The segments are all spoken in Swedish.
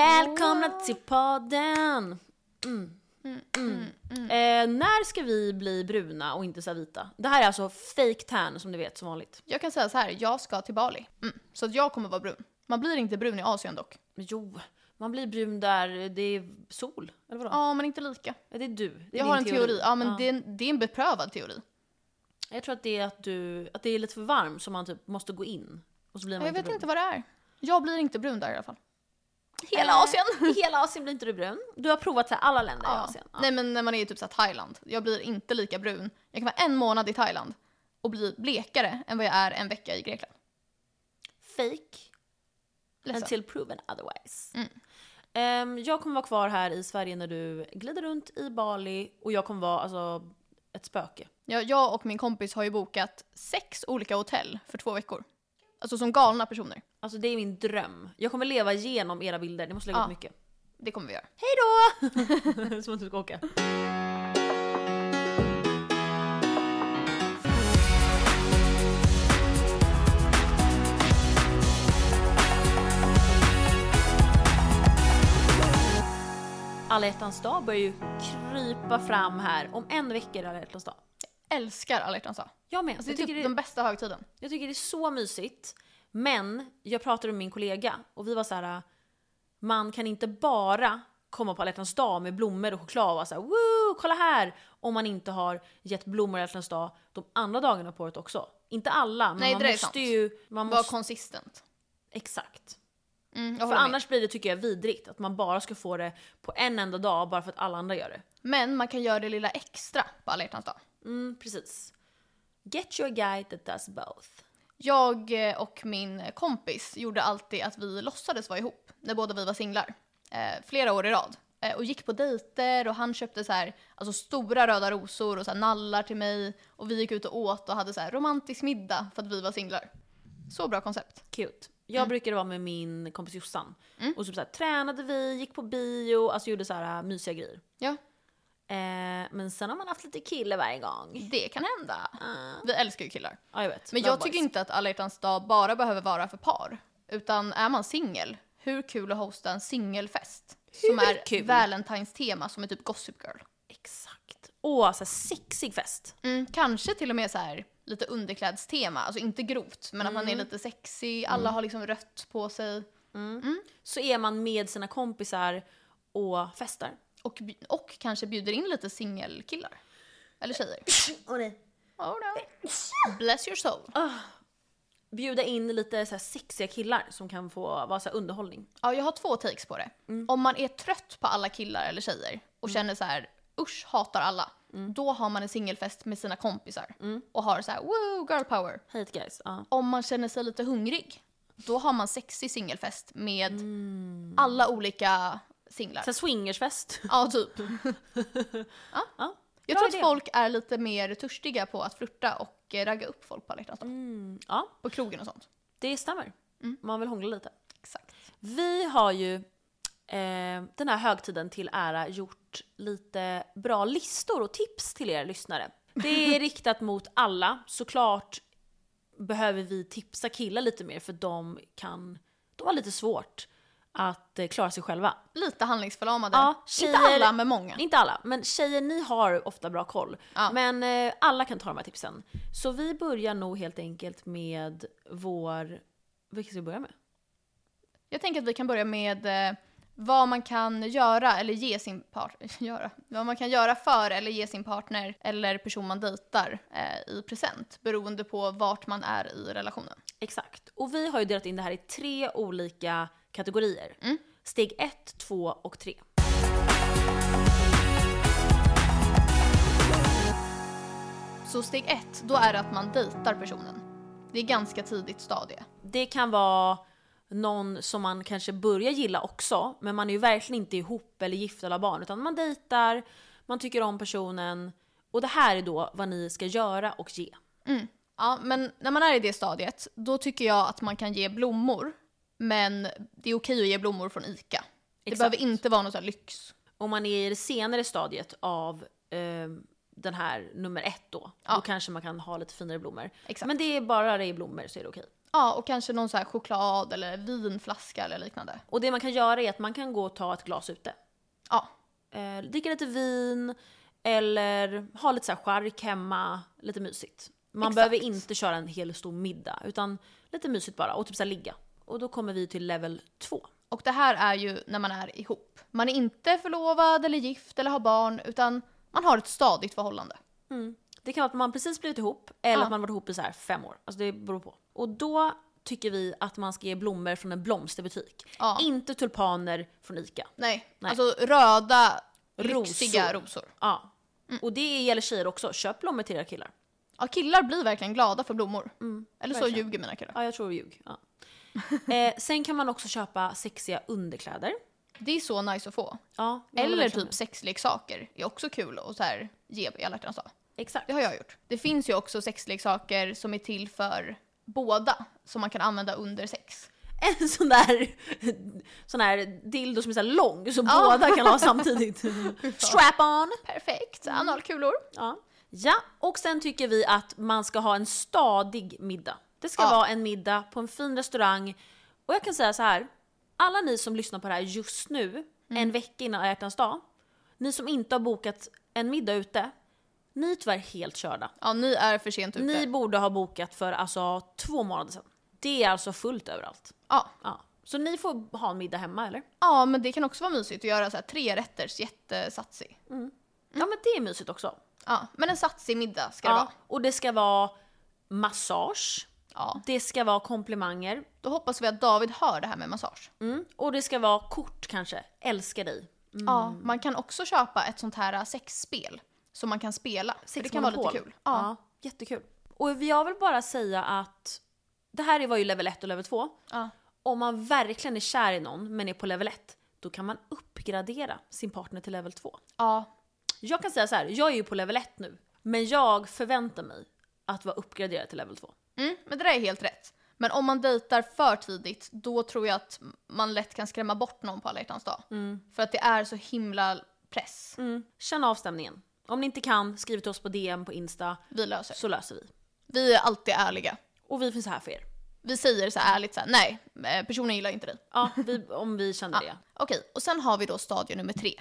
Välkomna till podden! Mm. Eh, när ska vi bli bruna och inte så här vita? Det här är alltså fake tan som du vet som vanligt. Jag kan säga så här, jag ska till Bali. Mm. Så att jag kommer vara brun. Man blir inte brun i Asien dock. Men Jo, man blir brun där det är sol. Eller vadå? Ja, men inte lika. Ja. Det är du. Det är Jag din har en teori. Ja, men Det, är en, det är en beprövad teori. Jag tror att det är att, du, att det är lite för varmt så man typ måste gå in. Och så blir man jag vet brun. inte vad det är. Jag blir inte brun där i alla fall. Hela Asien! I hela Asien blir inte du brun. Du har provat så här alla länder i Ja. Asien. Ja. Nej men när man är i typ så här Thailand, jag blir inte lika brun. Jag kan vara en månad i Thailand och bli blekare än vad jag är en vecka i Grekland. Fake Ledsen. until proven otherwise. Ehm, jag kommer vara kvar här i Sverige när du glider runt i Bali och jag kommer vara alltså, ett spöke. Jag, jag och min kompis har ju bokat sex olika hotell för två veckor. Alltså som galna personer. Alltså det är min dröm. Jag kommer leva igenom era bilder, ni måste lägga Ja. upp mycket. Det kommer vi göra. Hejdå! Som att du ska åka. Alla hjärtans dag börjar ju krypa fram här. Om en vecka är det alla hjärtans dag. Älskar alla hjärtans dag. Jag med. Alltså, jag, det är tycker typ det, den bästa högtiden. jag tycker det är så mysigt. Men jag pratade med min kollega och vi var så här. Man kan inte bara komma på alla hjärtans dag med blommor och choklad och vara så här, woo, kolla här! Om man inte har gett blommor alla hjärtans dag de andra dagarna på året också. Inte alla, men Nej, man det där är måste sant. ju... Man Var måste, konsistent. exakt. Mm, jag För håller med. annars blir det, tycker jag, vidrigt att man bara ska få det på en enda dag bara för att alla andra gör det. Men man kan göra det lilla extra på alla hjärtans dag. Mm, precis. Get your guy that does both. Jag eh, och min kompis gjorde alltid att vi låtsades vara ihop när båda vi var singlar. Eh, flera år i rad. Eh, och gick på dejter och han köpte så här, alltså stora röda rosor och så här nallar till mig. Och vi gick ut och åt och hade så här romantisk middag för att vi var singlar. Så bra koncept. Cute. Jag Mm. brukade vara med min kompis Jossan. Och typ så här, tränade vi, gick på bio, alltså gjorde så här äh, mysiga grejer. Ja, Eh, men sen har man haft lite kille varje gång. det kan hända. Ah. Vi älskar ju killar. Ja, jag vet. Men Love jag tycker boys. inte att alla hjärtans dag bara behöver vara för par. Utan är man singel, hur kul att hosta en singelfest? Som Hur är kul? Valentine's-tema, som är typ Gossip Girl. Exakt. Åh, så här sexig fest. Mm, kanske till och med så här lite underklädstema, alltså inte grovt, men att man är lite sexy, alla har liksom rött på sig. Så är man med sina kompisar och festar. Och, bj- och kanske bjuder in lite singelkillar. Eller tjejer. Åh nej. Oh no. Bless your soul. Bjuda in lite så här sexiga killar som kan få vara så här underhållning. Ja, jag har två takes på det. Mm. Om man är trött på alla killar eller tjejer och känner så här, usch, hatar alla. Mm. Då har man en singelfest med sina kompisar och har så här, woo, girl power. Hate guys. Ja. Om man känner sig lite hungrig, då har man sexig singelfest med Mm. alla olika singlar. Så här swingersfest. Ja, typ. Ja. Jag Bra tror att idé. folk är lite mer törstiga på att flirta och eh, ragga upp folk på alla hjärtans dag. Mm. Ja, På krogen och sånt. det stämmer. Mm. Man vill hångla lite. Exakt. Vi har ju eh, den här högtiden till ära gjort lite bra listor och tips till er lyssnare. Det är riktat mot alla. Såklart behöver vi tipsa killar lite mer för de kan, de har lite svårt att eh, klara sig själva. Lite handlingsförlamade. Ja, tjejer- Inte alla, men många. Inte alla, men tjejer ni har ofta bra koll. Ja. Men eh, alla kan ta de här tipsen. Så vi börjar nog helt enkelt med vår, vilket ska vi börja med? Jag tänker att vi kan börja med eh, vad man kan göra eller ge sin partner, göra, vad man kan göra för eller ge sin partner eller person man dejtar eh, i present beroende på vart man är i relationen. Exakt. Och vi har ju delat in det här i tre olika kategorier. Steg 1, 2 och 3. Så steg ett, då är det att man dejtar personen. Det är ganska tidigt stadie. Det kan vara någon som man kanske börjar gilla också, men man är ju verkligen inte ihop eller gift eller har barn, utan man dejtar, man tycker om personen och det här är då vad ni ska göra och ge. Ja, men när man är i det stadiet, då tycker jag att man kan ge blommor. Men det är okej att ge blommor från ICA. Det Exakt. behöver inte vara någon sån här lyx. Om man är i det senare stadiet av eh, den här nummer ett då, då kanske man kan ha lite finare blommor. Exakt. Men det är bara det är blommor så är det okej. Ja, och kanske någon så här choklad eller vinflaska eller liknande. Och det man kan göra är att man kan gå och ta ett glas ute. Ja, Eh, dricka lite vin eller ha lite så här chark hemma, lite mysigt. Man Exakt. behöver inte köra en hel stor middag utan lite mysigt bara och typ så här ligga. Och då kommer vi till level två. och det här är ju när man är ihop. Man är inte förlovad eller gift eller har barn utan man har ett stadigt förhållande. Det kan vara att man precis blivit ihop eller Mm. Ja. att man varit ihop i så här fem år. Alltså det beror på. Och då tycker vi att man ska ge blommor från en blomsterbutik. Ja. Inte tulpaner från ICA. Nej, Nej. alltså röda, Rosor. lyxiga rosor. Ja. Mm. Och det gäller tjejer också. Köp blommor till era killar. Ja, killar blir verkligen glada för blommor. eller så Mm, verkligen. ljuger mina killar. Ja, jag tror vi ljug. Ja. Eh, sen kan man också köpa sexiga underkläder. Det är så nice att få. Ja, jag håller Eller verkligen typ sexleksaker är också kul att så här ge i alla hjärtans dag. med. Exakt. Det har jag gjort. Det finns ju också sexleksaker som är till för båda, som man kan använda under sex. En sån där, sån där dildo som är så här lång som Ja. båda kan ha samtidigt. Strap on! Perfekt! Mm. Analkulor. Ja. ja, och sen tycker vi att man ska ha en stadig middag. Det ska Ja. vara en middag på en fin restaurang. Och jag kan säga så här, alla ni som lyssnar på det här just nu, Mm. en vecka innan Alla hjärtans dag, ni som inte har bokat en middag ute, ni är tyvärr helt körda. Ja, ni är för sent ute. Ni borde ha bokat för alltså två månader sedan. Det är alltså fullt överallt. Ja. Ja. Så ni får ha en middag hemma eller? ja, men det kan också vara mysigt att göra så här tre rätters jättesatsig. Ja men det är mysigt också. Ja, men en satsig middag ska det Ja. vara. Och det ska vara massage, Ja. det ska vara komplimanger Då hoppas vi att David hör det här med massage. mm. och det ska vara kort kanske. Älskar dig. Ja, man kan också köpa ett sånt här äh, sexspel som man kan spela. för det kan vara lite Monopol. kul. Ja. Ja. jättekul. Och jag vill bara säga att det här var ju level 1 och level 2. Ja. Om man verkligen är kär i någon men är på level 1, då kan man uppgradera sin partner till level 2. ja. Jag kan säga så här, jag är ju på level 1 nu, men jag förväntar mig att vara uppgraderad till level 2. Mm, men det där är helt rätt. Men om man dejtar för tidigt, då tror jag att man lätt kan skrämma bort någon på alla hjärtans dag. Mm. För att det är så himla press. Känn av stämningen. Om ni inte kan, skriv till oss på DM på Insta Vi löser så löser vi. Vi är alltid ärliga. Och vi finns här för er. Vi säger så här ärligt så här, nej, eh, personen gillar inte dig. Ja, vi, om vi känner det. Okej, och sen har vi då stadie nummer tre.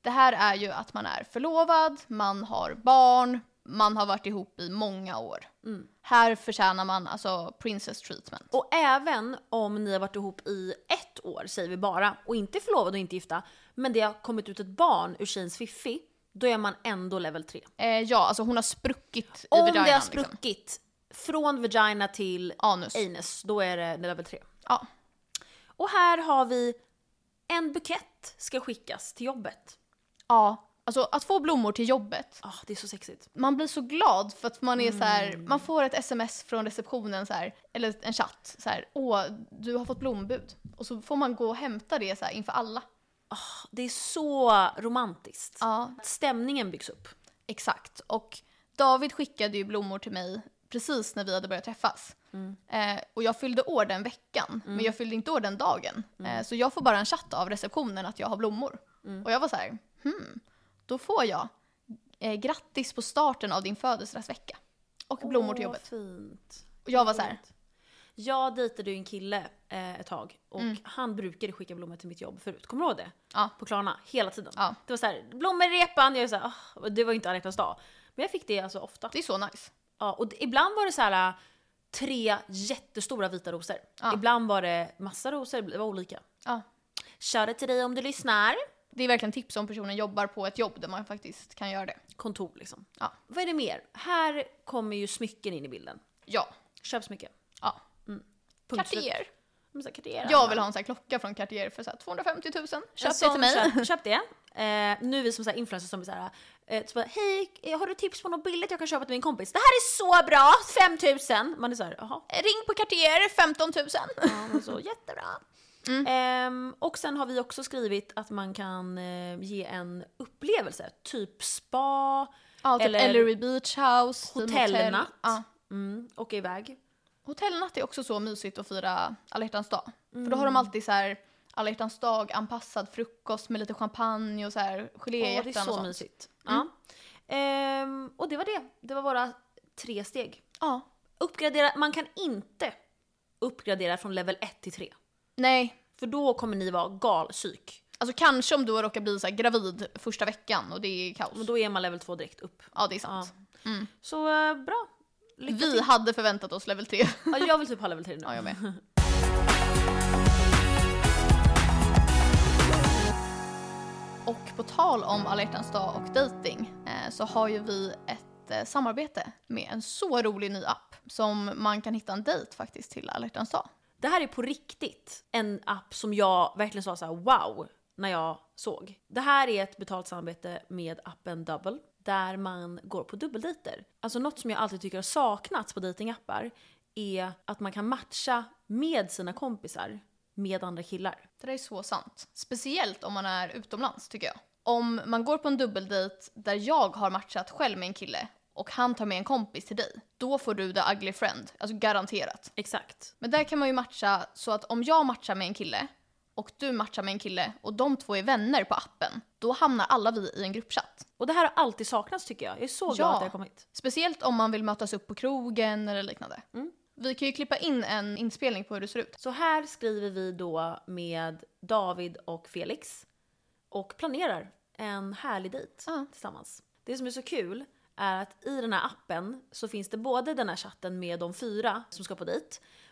Det här är ju att man är förlovad, man har barn, man har varit ihop i många år. Mm. Här förtjänar man alltså princess treatment. Och även om ni har varit ihop i ett år, säger vi bara, och inte är förlovade och inte gifta, men det har kommit ut ett barn ur tjejens fiffi, då är man ändå level 3. Eh, ja, alltså hon har spruckit i Om vaginan. det har liksom. spruckit från vagina till Anus. anus, då är det level 3. Ja. Och här har vi en bukett ska skickas till jobbet. Ja, alltså att få blommor till jobbet. Ah, det är så sexigt. Man blir så glad för att man är så här, Mm. man får ett sms från receptionen så här, eller en chatt så här, åh, du har fått blombud. Och så får man gå och hämta det så här inför alla. Ah, Det är så romantiskt. Ja, Att stämningen byggs upp. exakt. Och David skickade ju blommor till mig precis när vi hade börjat träffas. Mm. Eh, och jag fyllde år den veckan, men jag fyllde inte år den dagen. Mm. Eh, så jag får bara en chatt av receptionen att jag har blommor. Och jag var så här, hmm, då får jag eh, grattis på starten av din födelsedagsvecka. Och blommor till Åh, jobbet. fint. Och jag var så här, Jag dejtade ju en kille eh, ett tag och han brukade skicka blommor till mitt jobb förut. Kommer du ihåg det? Mm. Ja. På Klarna, hela tiden. Ja. Det var så här, blommor i repan, jag var så här, "Ah." det var ju inte alla hjärtans dag. Men jag fick det alltså ofta. det är så nice. Ja, och d- ibland var det så här eh, tre jättestora vita rosor. Ja. Ibland var det massa rosor, det var olika. Ja. Shoutout till dig om du lyssnar. Det är verkligen tips om personen jobbar på ett jobb där man faktiskt kan göra det. Kontor liksom. Ja. Vad är det mer? Här kommer ju smycken in i bilden. Ja. Köp smycken. Mm. ja. Punkt slut. Cartier. Men så här, Cartier. Jag vill ha Alltså, en sån här klocka från Cartier för så här 250 000. En Köp det sån till mig. Köp, köp det. Eh, nu är vi som så här influencers som är så här, eh, så bara, hej, eh, har du tips på något billigt jag kan köpa till min kompis? Det här är så bra! 5000! Man är så här, jaha. Ring på Cartier, 15 000. Ja, men så, jättebra. Mm. Ehm, och sen har vi också skrivit att man kan eh, ge en upplevelse, typ spa, Ja, typ Eller- Ellery Beach House, Steam Hotellnatt. Hotel. Ja. mm, åka iväg. Hotellnatt är också så mysigt att fira alla hjärtans dag. För då har de Mm. alltid så här alla hjärtans dag anpassad frukost med lite champagne och så här Åh, geléhjärtan det och är så sånt. Mm. mysigt. Ja. Ehm, och det var det. Det var våra tre steg. Ja, Uppgradera, man kan inte uppgradera från level 1 till 3. Nej, För då kommer ni vara galpsyk. alltså kanske om du har råkat bli så här gravid första veckan och det är kaos. Men då är man level 2 direkt upp. Ja, det är Ja. sant. Mm. Så eh, bra. Lycka Vi till. hade förväntat oss level 3. Ja, jag vill typ ha level 3 nu. Ja, jag med. Och på tal om alla hjärtans dag och dating eh, så har ju vi ett eh, samarbete med en så rolig ny app som man kan hitta en dejt faktiskt till alla hjärtans dag. Det här är på riktigt en app som jag verkligen sa så här: wow när jag såg. Det här är ett betalt samarbete med appen Double där man går på dubbeldejter. Alltså något som jag alltid tycker har saknats på datingappar är att man kan matcha med sina kompisar med andra killar. Det där är så sant. Speciellt om man är utomlands tycker jag. Om man går på en dubbeldejt där jag har matchat själv med en kille och han tar med en kompis till dig, då får du the ugly friend. Alltså garanterat. Exakt. Men där kan man ju matcha så att om jag matchar med en kille och du matchar med en kille och de två är vänner på appen, då hamnar alla vi i en gruppchatt. Och det här har alltid saknats tycker jag. Jag är så glad Ja. att det har kommit. Speciellt om man vill mötas upp på krogen eller liknande. Mm. Vi kan ju klippa in en inspelning på hur det ser ut. Så här skriver vi då med David och Felix och planerar en härlig dejt Ja. tillsammans. Det som är så kul är att i den här appen så finns det både den här chatten med de fyra som ska på dejt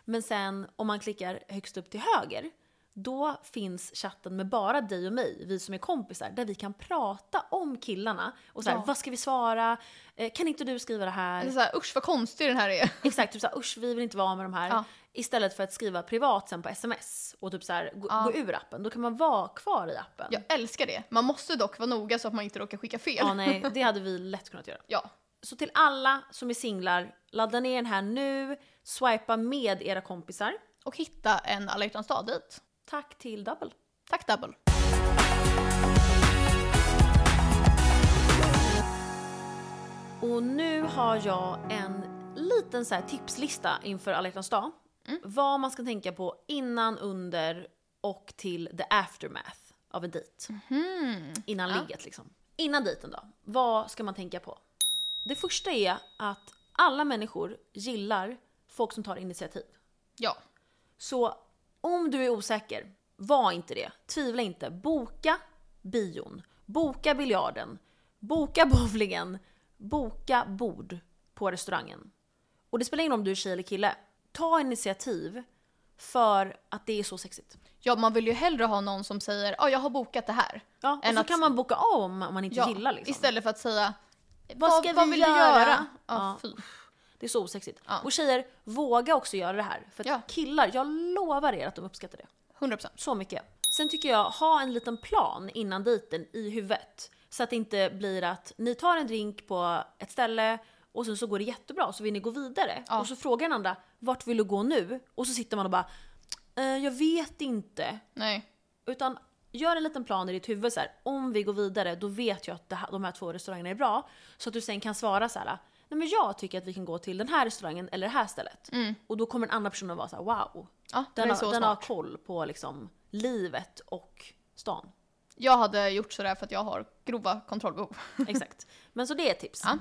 men sen om man klickar högst upp till höger då finns chatten med bara dig och mig, vi som är kompisar, där vi kan prata om killarna. Och så här, Ja. vad ska vi svara? Eh, Kan inte du skriva det här? Det är Alltså så här, usch vad konstig den här är. Exakt, typ såhär usch vi vill inte vara med de här. Ja. Istället för att skriva privat sen på sms och typ såhär gå, Ja. gå ur appen. Då kan man vara kvar i appen. Jag älskar det. Man måste dock vara noga så att man inte råkar skicka fel. Ja, nej, det hade vi lätt kunnat göra. Ja, Så till alla som är singlar, ladda ner den här nu, swipa med era kompisar. och hitta en alla hjärtans dag dit. Tack till Double. Tack Double. Och nu har jag en liten så här tipslista inför alla hjärtans dag. Mm. Vad man ska tänka på innan, under och till the aftermath av en dejt. Hmm. Innan Ja. ligget liksom. Innan dejten då, vad ska man tänka på? Det första är att alla människor gillar folk som tar initiativ. Ja, Så om du är osäker, var inte det. Tvivla inte. Boka bion, boka biljarden, boka bowlingen, boka bord på restaurangen. Och det spelar ingen roll om du är tjej eller kille. Ta initiativ för att det är så sexigt. ja man vill ju hellre ha någon som säger ja, jag har bokat det här. Ja, och Än så att- kan man boka av om man inte Ja, gillar liksom. Istället för att säga Vad ska vi vill göra? Du göra? Ja, Ja. Fy. Det är så osexigt. Ja. Och tjejer, våga också göra det här. För att Ja. killar, jag lovar er att de uppskattar det. 100%. Så mycket. Sen tycker jag, ha en liten plan innan dejten i huvudet. Så att det inte blir att ni tar en drink på ett ställe och sen så går det jättebra och så vill ni gå vidare. Ja. Och så frågar den andra, vart vill du gå nu? Och så sitter man och bara, eh, jag vet inte. Nej. Utan gör en liten plan i ditt huvud så här. om vi går vidare då vet jag att det här, de här två restaurangerna är bra. Så att du sen kan svara så här. nej men jag tycker att vi kan gå till den här restaurangen eller det här stället. Mm. Och då kommer den andra personen vara så här: wow. Ja, det Den, är har, så den har smart. koll på liksom livet och stan. Jag hade gjort sådär för att jag har grova kontrollbehov. Exakt. Men så det är ett tips. Ja.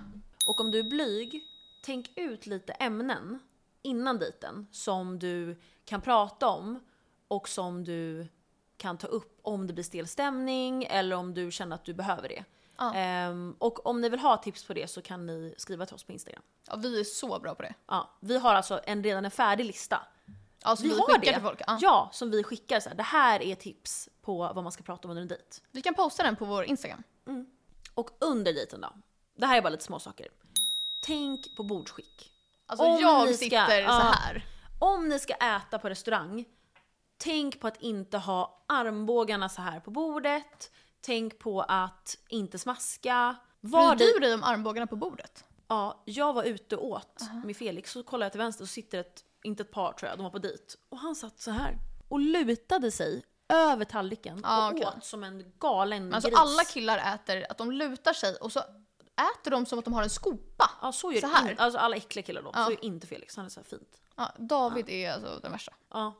Och om du är blyg, tänk ut lite ämnen innan dejten som du kan prata om och som du kan ta upp om det blir stel stämning eller om du känner att du behöver det. Ja. Ehm, och om ni vill ha tips på det så kan ni skriva till oss på Instagram. Ja, vi är så bra på det. Ja, vi har alltså en, redan en färdig lista. Ja, så Vi Alltså, vi, har skickar det. till folk. Ja. Ja, som vi skickar så här, det här är tips på vad man ska prata om under en dejt. Vi kan posta den på vår Instagram. Och under dejten då? Det här är bara lite småsaker. Tänk på bordsskick. Alltså Om ni jag ska- sitter ja. så här. Om ni ska äta på restaurang, tänk på att inte ha armbågarna så här på bordet. Tänk på att inte smaska. Var Bryr du? du dig om armbågarna på bordet? Ja, jag var ute och åt med Felix så kollade jag till vänster och sitter ett, inte ett par tror jag, de var på dit. Och han satt så här och lutade sig över tallriken Ja, och okej. åt som en galen Alltså gris. alla killar äter att de lutar sig och så äter de som att de har en skopa. ja, så gör så så här. In, alltså alla äckliga killar då, Ja. så gör inte Felix, han är så här fint. Ja, David är alltså den värsta. Ja.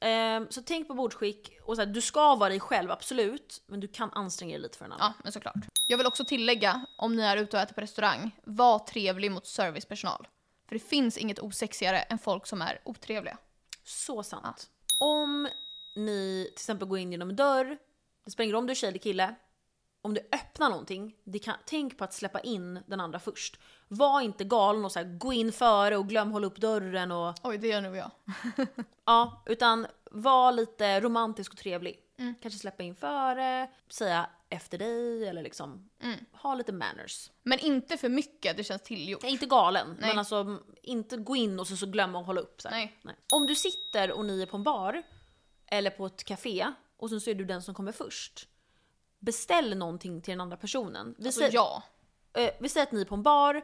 Ehm, så tänk på bordsskick. Och så här, du ska vara dig själv, absolut. Men du kan anstränga dig lite för en annan. Ja, men såklart. Jag vill också tillägga, om ni är ute och äter på restaurang, var trevlig mot servicepersonal. För det finns inget osexigare än folk som är otrevliga. Så sant. Om ni till exempel går in genom en dörr, det spelar ingen roll om du är tjej eller kille. Om du öppnar någonting, det kan, tänk på att släppa in den andra först. Var inte galen och så här, gå in före och glöm hålla upp dörren och Oj, det gör nog jag. Ja, utan var lite romantisk och trevlig. Kanske släppa in före, säga efter dig eller liksom ha lite manners. Men inte för mycket, det känns tillgjort. Nej, inte galen, Nej. men alltså m, inte gå in och så, så glömma att hålla upp. Så här. Nej. Om du sitter och ni är på en bar eller på ett café och sen så är du den som kommer först. Beställ någonting till den andra personen. Vi, Alltså säger, ja. eh, vi säger att ni är på en bar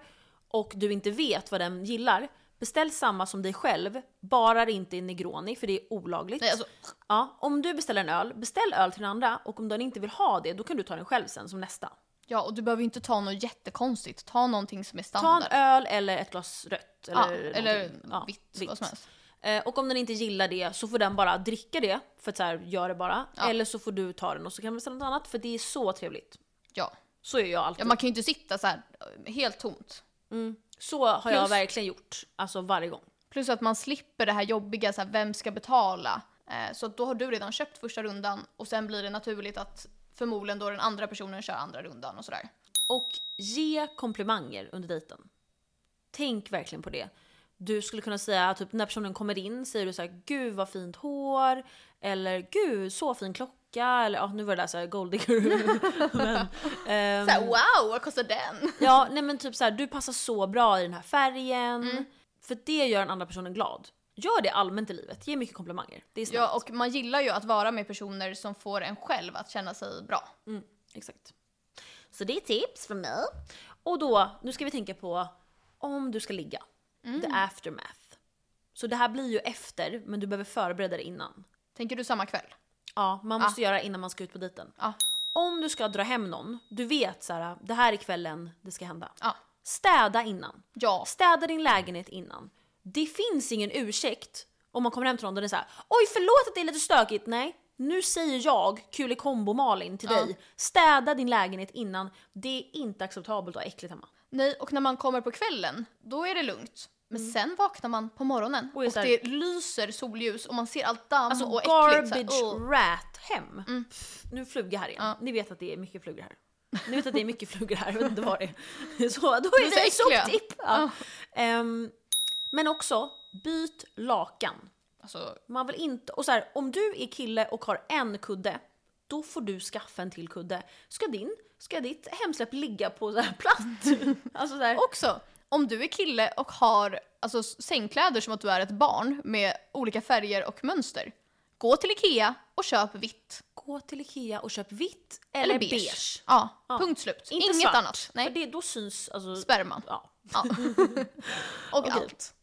och du inte vet vad den gillar. Beställ samma som dig själv, bara det inte är negroni för det är olagligt. Nej, alltså, Ja, om du beställer en öl, beställ öl till den andra och om den inte vill ha det, då kan du ta den själv sen som nästa. ja, och du behöver ju inte ta något jättekonstigt. Ta någonting som är Ta standard. en öl eller ett glas rött. Eller, ja, någonting. eller Ja, vitt, vad som helst. Eh, Och om den inte gillar det så får den bara dricka det, för att så här, gör det bara. Ja. Eller så får du ta den och så kan man beställa något annat, för det är så trevligt. Ja. Så gör jag ja, alltid. man kan ju inte sitta så här eh, helt tomt. Så har jag Plus- verkligen gjort, alltså varje gång. Plus att man slipper det här jobbiga, så här, vem ska betala? Eh, så att då har du redan köpt första rundan och sen blir det naturligt att förmodligen då den andra personen kör andra rundan och sådär. Och ge komplimanger under dejten. Tänk verkligen på det. Du skulle kunna säga, typ när personen kommer in säger du så här: “Gud vad fint hår” eller “Gud så fin klocka” eller ja, nu var det där såhär golddigger. men, ehm, Så här, wow, vad kostar den? ja, nej men typ såhär “Du passar så bra i den här färgen”. För det gör den andra personen glad. Gör det allmänt i livet, ge mycket komplimanger. Det är snällt. Ja, och man gillar ju att vara med personer som får en själv att känna sig bra. Exakt. Så det är tips från mig. Och då, nu ska vi tänka på om du ska ligga. The aftermath. Så det här blir ju efter, men du behöver förbereda dig innan. Tänker du samma kväll? Ja, man måste göra innan man ska ut på dejten. Ja. Om du ska dra hem någon, du vet så här, det här är kvällen det ska hända. Ja. Städa innan. Ja. Städa din lägenhet innan. Det finns ingen ursäkt om man kommer hem till någon och det är så här, oj förlåt att det är lite stökigt. Nej, nu säger jag kulikombo Malin till Ja. dig. Städa din lägenhet innan. Det är inte acceptabelt och äckligt hemma. Nej, och när man kommer på kvällen, då är det lugnt. Men sen vaknar man på morgonen Mm. och, Och är så här- det lyser solljus och man ser allt damm Alltså och äckligt. så här, garbage "Ugh." rat hem. Pff, Nu är fluga här igen. Ja. Ni vet att det är mycket flugor här. Ni vet att det är mycket flugor här, jag vet inte vad det är. Så då är så det ett äckliga. soptipp. Ja. Ehm, men också, byt lakan. Alltså, Man vill inte, och så här, om du är kille och har en kudde, då får du skaffa en till kudde. Ska din, ska ditt hemsläpp ligga på så här platt? alltså så här, också, om du är kille och har alltså, s- sängkläder som att du är ett barn med olika färger och mönster, gå till Ikea och köp vitt. gå till Ikea och köp vitt eller, Eller, beige. beige. Ja, Ja. punkt slut. Inte Inget svart, annat. För Nej, det, då syns alltså, sperman. ja. Ja. och Okej. Mm. allt.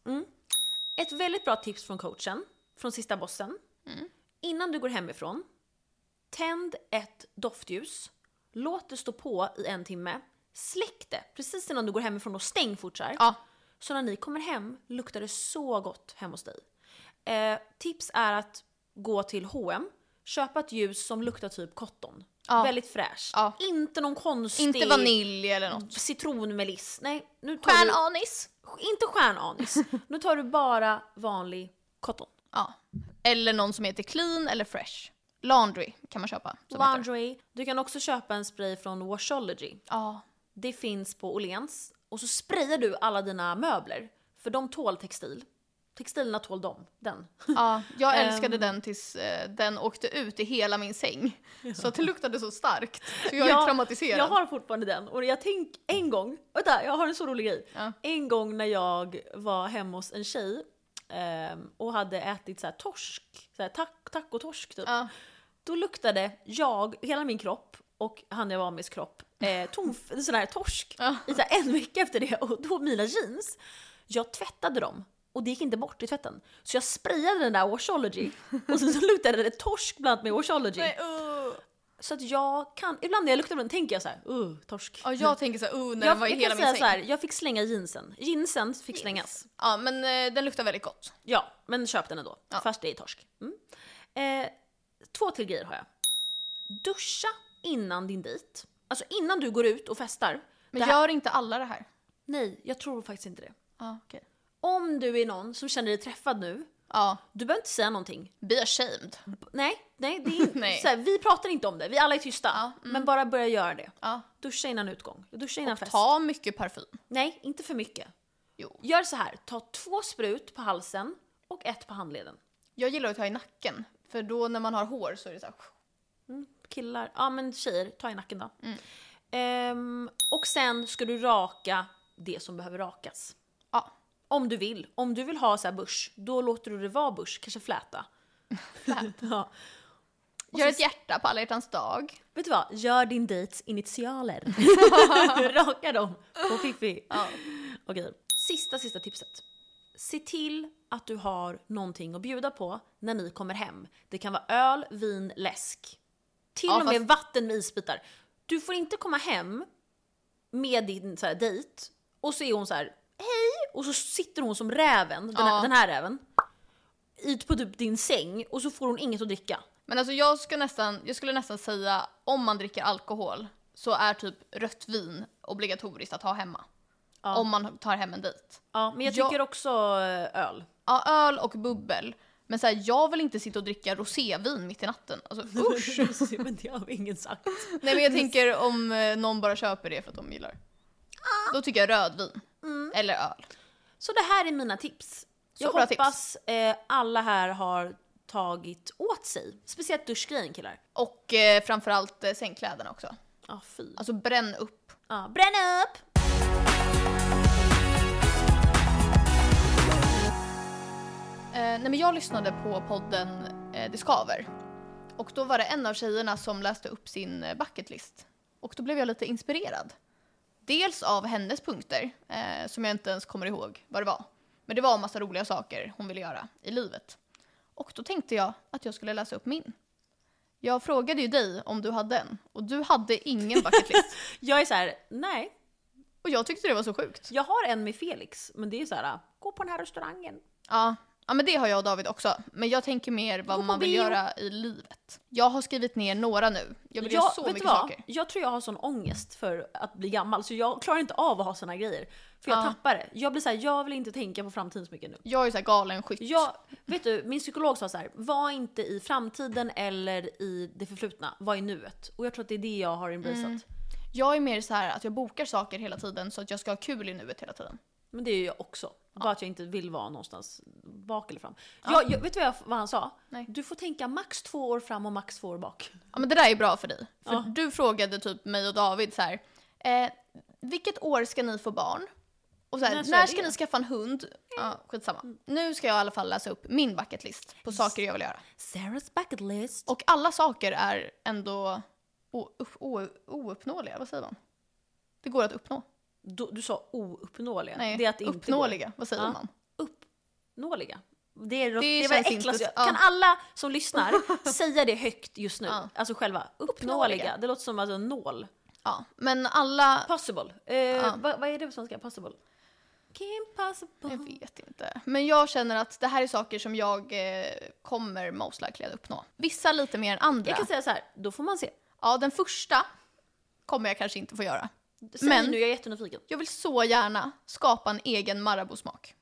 Ett väldigt bra tips från coachen, från sista bossen. Mm. Innan du går hemifrån, tänd ett doftljus, låt det stå på i en timme, släck det precis innan du går hemifrån och stäng fort så här. Ja. Så när ni kommer hem luktar det så gott hemma hos dig. Eh, tips är att gå till H&M, köpa ett ljus som luktar typ cotton. Ja. Väldigt fräscht. Ja. Inte någon konstig Inte vanilj eller något. citronmeliss. Nej, nu tar du, Stjärnanis. inte stjärnanis. nu tar du bara vanlig cotton. Ja. Eller någon som heter clean eller fresh. Laundry kan man köpa. som heter. Laundry. Du kan också köpa en spray från Washology. Ja. Det finns på Åhléns. Och så sprayar du alla dina möbler. För de tål textil. Textilerna tål dem. Den. ja. Jag Ehm. älskade den tills eh, den åkte ut i hela min säng. Så att det luktade så starkt. Så jag är traumatiserad. Jag har fortfarande den. Och jag tänk en gång, vänta jag har en så rolig grej. Ja. En gång när jag var hemma hos en tjej ehm, och hade ätit så här torsk, så här tack, tacotorsk typ. Ja. Då luktade jag, hela min kropp och han jag var meds kropp, eh, tomf, sån här torsk Ja. i så här en vecka efter det. Och då mina jeans, jag tvättade dem och det gick inte bort i tvätten. Så jag sprayade den där Washology och sen så luktade det torsk bland annat med Washology. Nej, uh. Så att jag kan, ibland när jag luktar på den tänker jag så här, uh, torsk. ja, jag tänker så här, uh, när jag, den var i jag hela kan min säga säng. så här, jag fick slänga jeansen. Jeansen fick slängas. Ja, men eh, den luktar väldigt gott. Ja, men köp den ändå. Ja. Fast det är torsk. Mm. Eh, två till grejer har jag. Duscha innan din dejt. Alltså innan du går ut och festar. Men Det här- gör inte alla det här? Nej, jag tror faktiskt inte det. Ja, okej. Om du är någon som känner dig träffad nu Ja, Du behöver inte säga någonting. be ashamed. B- Nej, nej, det är Nej. mm. Så här, vi pratar inte om det. Vi alla är tysta. Men bara börja göra det. Ja. Duscha innan utgång. Duscha innan fest. Ta mycket parfym. Nej, inte för mycket. Jo. Gör så här, ta två sprut på halsen och ett på handleden. Jag gillar att ta i nacken, för då när man har hår så är det så här, Killar, ja men tjejer, ta i nacken då. Ehm, och sen ska du raka det som behöver rakas. ja. Om du vill. Om du vill ha så här bush, då låter du det vara bush, kanske fläta. ja. Gör ett hjärta på alla hjärtans dag. Vet du vad? Gör din dejts initialer. Raka dem på Fiffi. Ja. Okej, sista, sista tipset. Se till att du har någonting att bjuda på när ni kommer hem. Det kan vara öl, vin, läsk. Till Ja, och med vatten med isbitar. Du får inte komma hem med din så här, dejt och så är hon så här hej och så sitter hon som räven, den, här, Ja. den här räven, i på typ din säng och så får hon inget att dricka. Men alltså jag skulle, nästan, jag skulle nästan säga, om man dricker alkohol så är typ rött vin obligatoriskt att ha hemma. Om man tar hem en dejt. Ja, men jag Ja. tycker också eh, öl. Ja, öl och bubbel. Men så här, jag vill inte sitta och dricka rosévin mitt i natten. Alltså usch! Usch! men det har ingen sagt. Nej men jag tänker om eh, någon bara köper det för att de gillar. Då tycker jag rödvin. Eller öl. Så det här är mina tips. Så jag bra hoppas eh, alla här har tagit åt sig. Speciellt duschgrejen killar. Och eh, framförallt eh, sängkläderna också. Ja, fy. Alltså bränn upp. Ja, bränn upp! Eh, nej men jag lyssnade på podden eh, Det skaver. Och då var det en av tjejerna som läste upp sin eh, bucket list. Och då blev jag lite inspirerad. Dels av hennes punkter, eh, som jag inte ens kommer ihåg vad det var. Men det var en massa roliga saker hon ville göra i livet. Och då tänkte jag att jag skulle läsa upp min. Jag frågade ju dig om du hade en och du hade ingen bucket list. Jag är så här: nej. Och jag tyckte det var så sjukt. Jag har en med Felix, men det är så här: gå på den här restaurangen. Ja, ja men det har jag och David också. Men jag tänker mer vad Gå på man vill bio. göra i livet. Jag har skrivit ner några nu. Jag vill göra så vet mycket du vad? saker. Jag tror jag har sån ångest för att bli gammal så jag klarar inte av att ha såna grejer. För jag Ja. tappar det. Jag blir såhär, jag vill inte tänka på framtiden så mycket nu. Jag är så här galen skytt. Jag, vet du, min psykolog sa så här: var inte i framtiden eller i det förflutna, var i nuet. Och jag tror att det är det jag har embraceat. Mm. Jag är mer så här att jag bokar saker hela tiden så att jag ska ha kul i nuet hela tiden. Men det är ju jag också. Bara att jag inte vill vara någonstans bak eller fram. Jag, jag, vet du vad, jag, vad han sa? Nej. Du får tänka max två år fram och max två år bak. Ja men det där är bra för dig. För Ja. du frågade typ mig och David så här. Eh, vilket år ska ni få barn? Och så här, När när, ska jag ska det? Mm. ni skaffa en hund? Ja, skitsamma. Nu ska jag i alla fall läsa upp min bucket list på saker jag vill göra. Sarahs bucket list. Och alla saker är ändå o- upp- o- ouppnåeliga, vad säger man? Det går att uppnå. Du, du sa ouppnåeliga. Nej, det är att det inte går. uppnåeliga, vad säger Ja. man? Uppnåeliga. Det är det, Det det, var känns det inte äckligaste. så- ja. Kan alla som lyssnar säga det högt just nu? Ja. Alltså själva uppnåeliga. Uppnåeliga. Det låter som alltså en nål. Ja, men alla... Possible. Eh, vad, vad är det på svenska? Possible? Eh, Kim possible. Jag vet inte. Men jag känner att det här är saker som jag eh, kommer most likely att uppnå. Vissa lite mer än andra. Jag kan säga så här, då får man se. Ja, den första kommer jag kanske inte få göra. Säg Men- nu, jag är jättenyfiken. Jag vill så gärna skapa en egen Marabou-smak.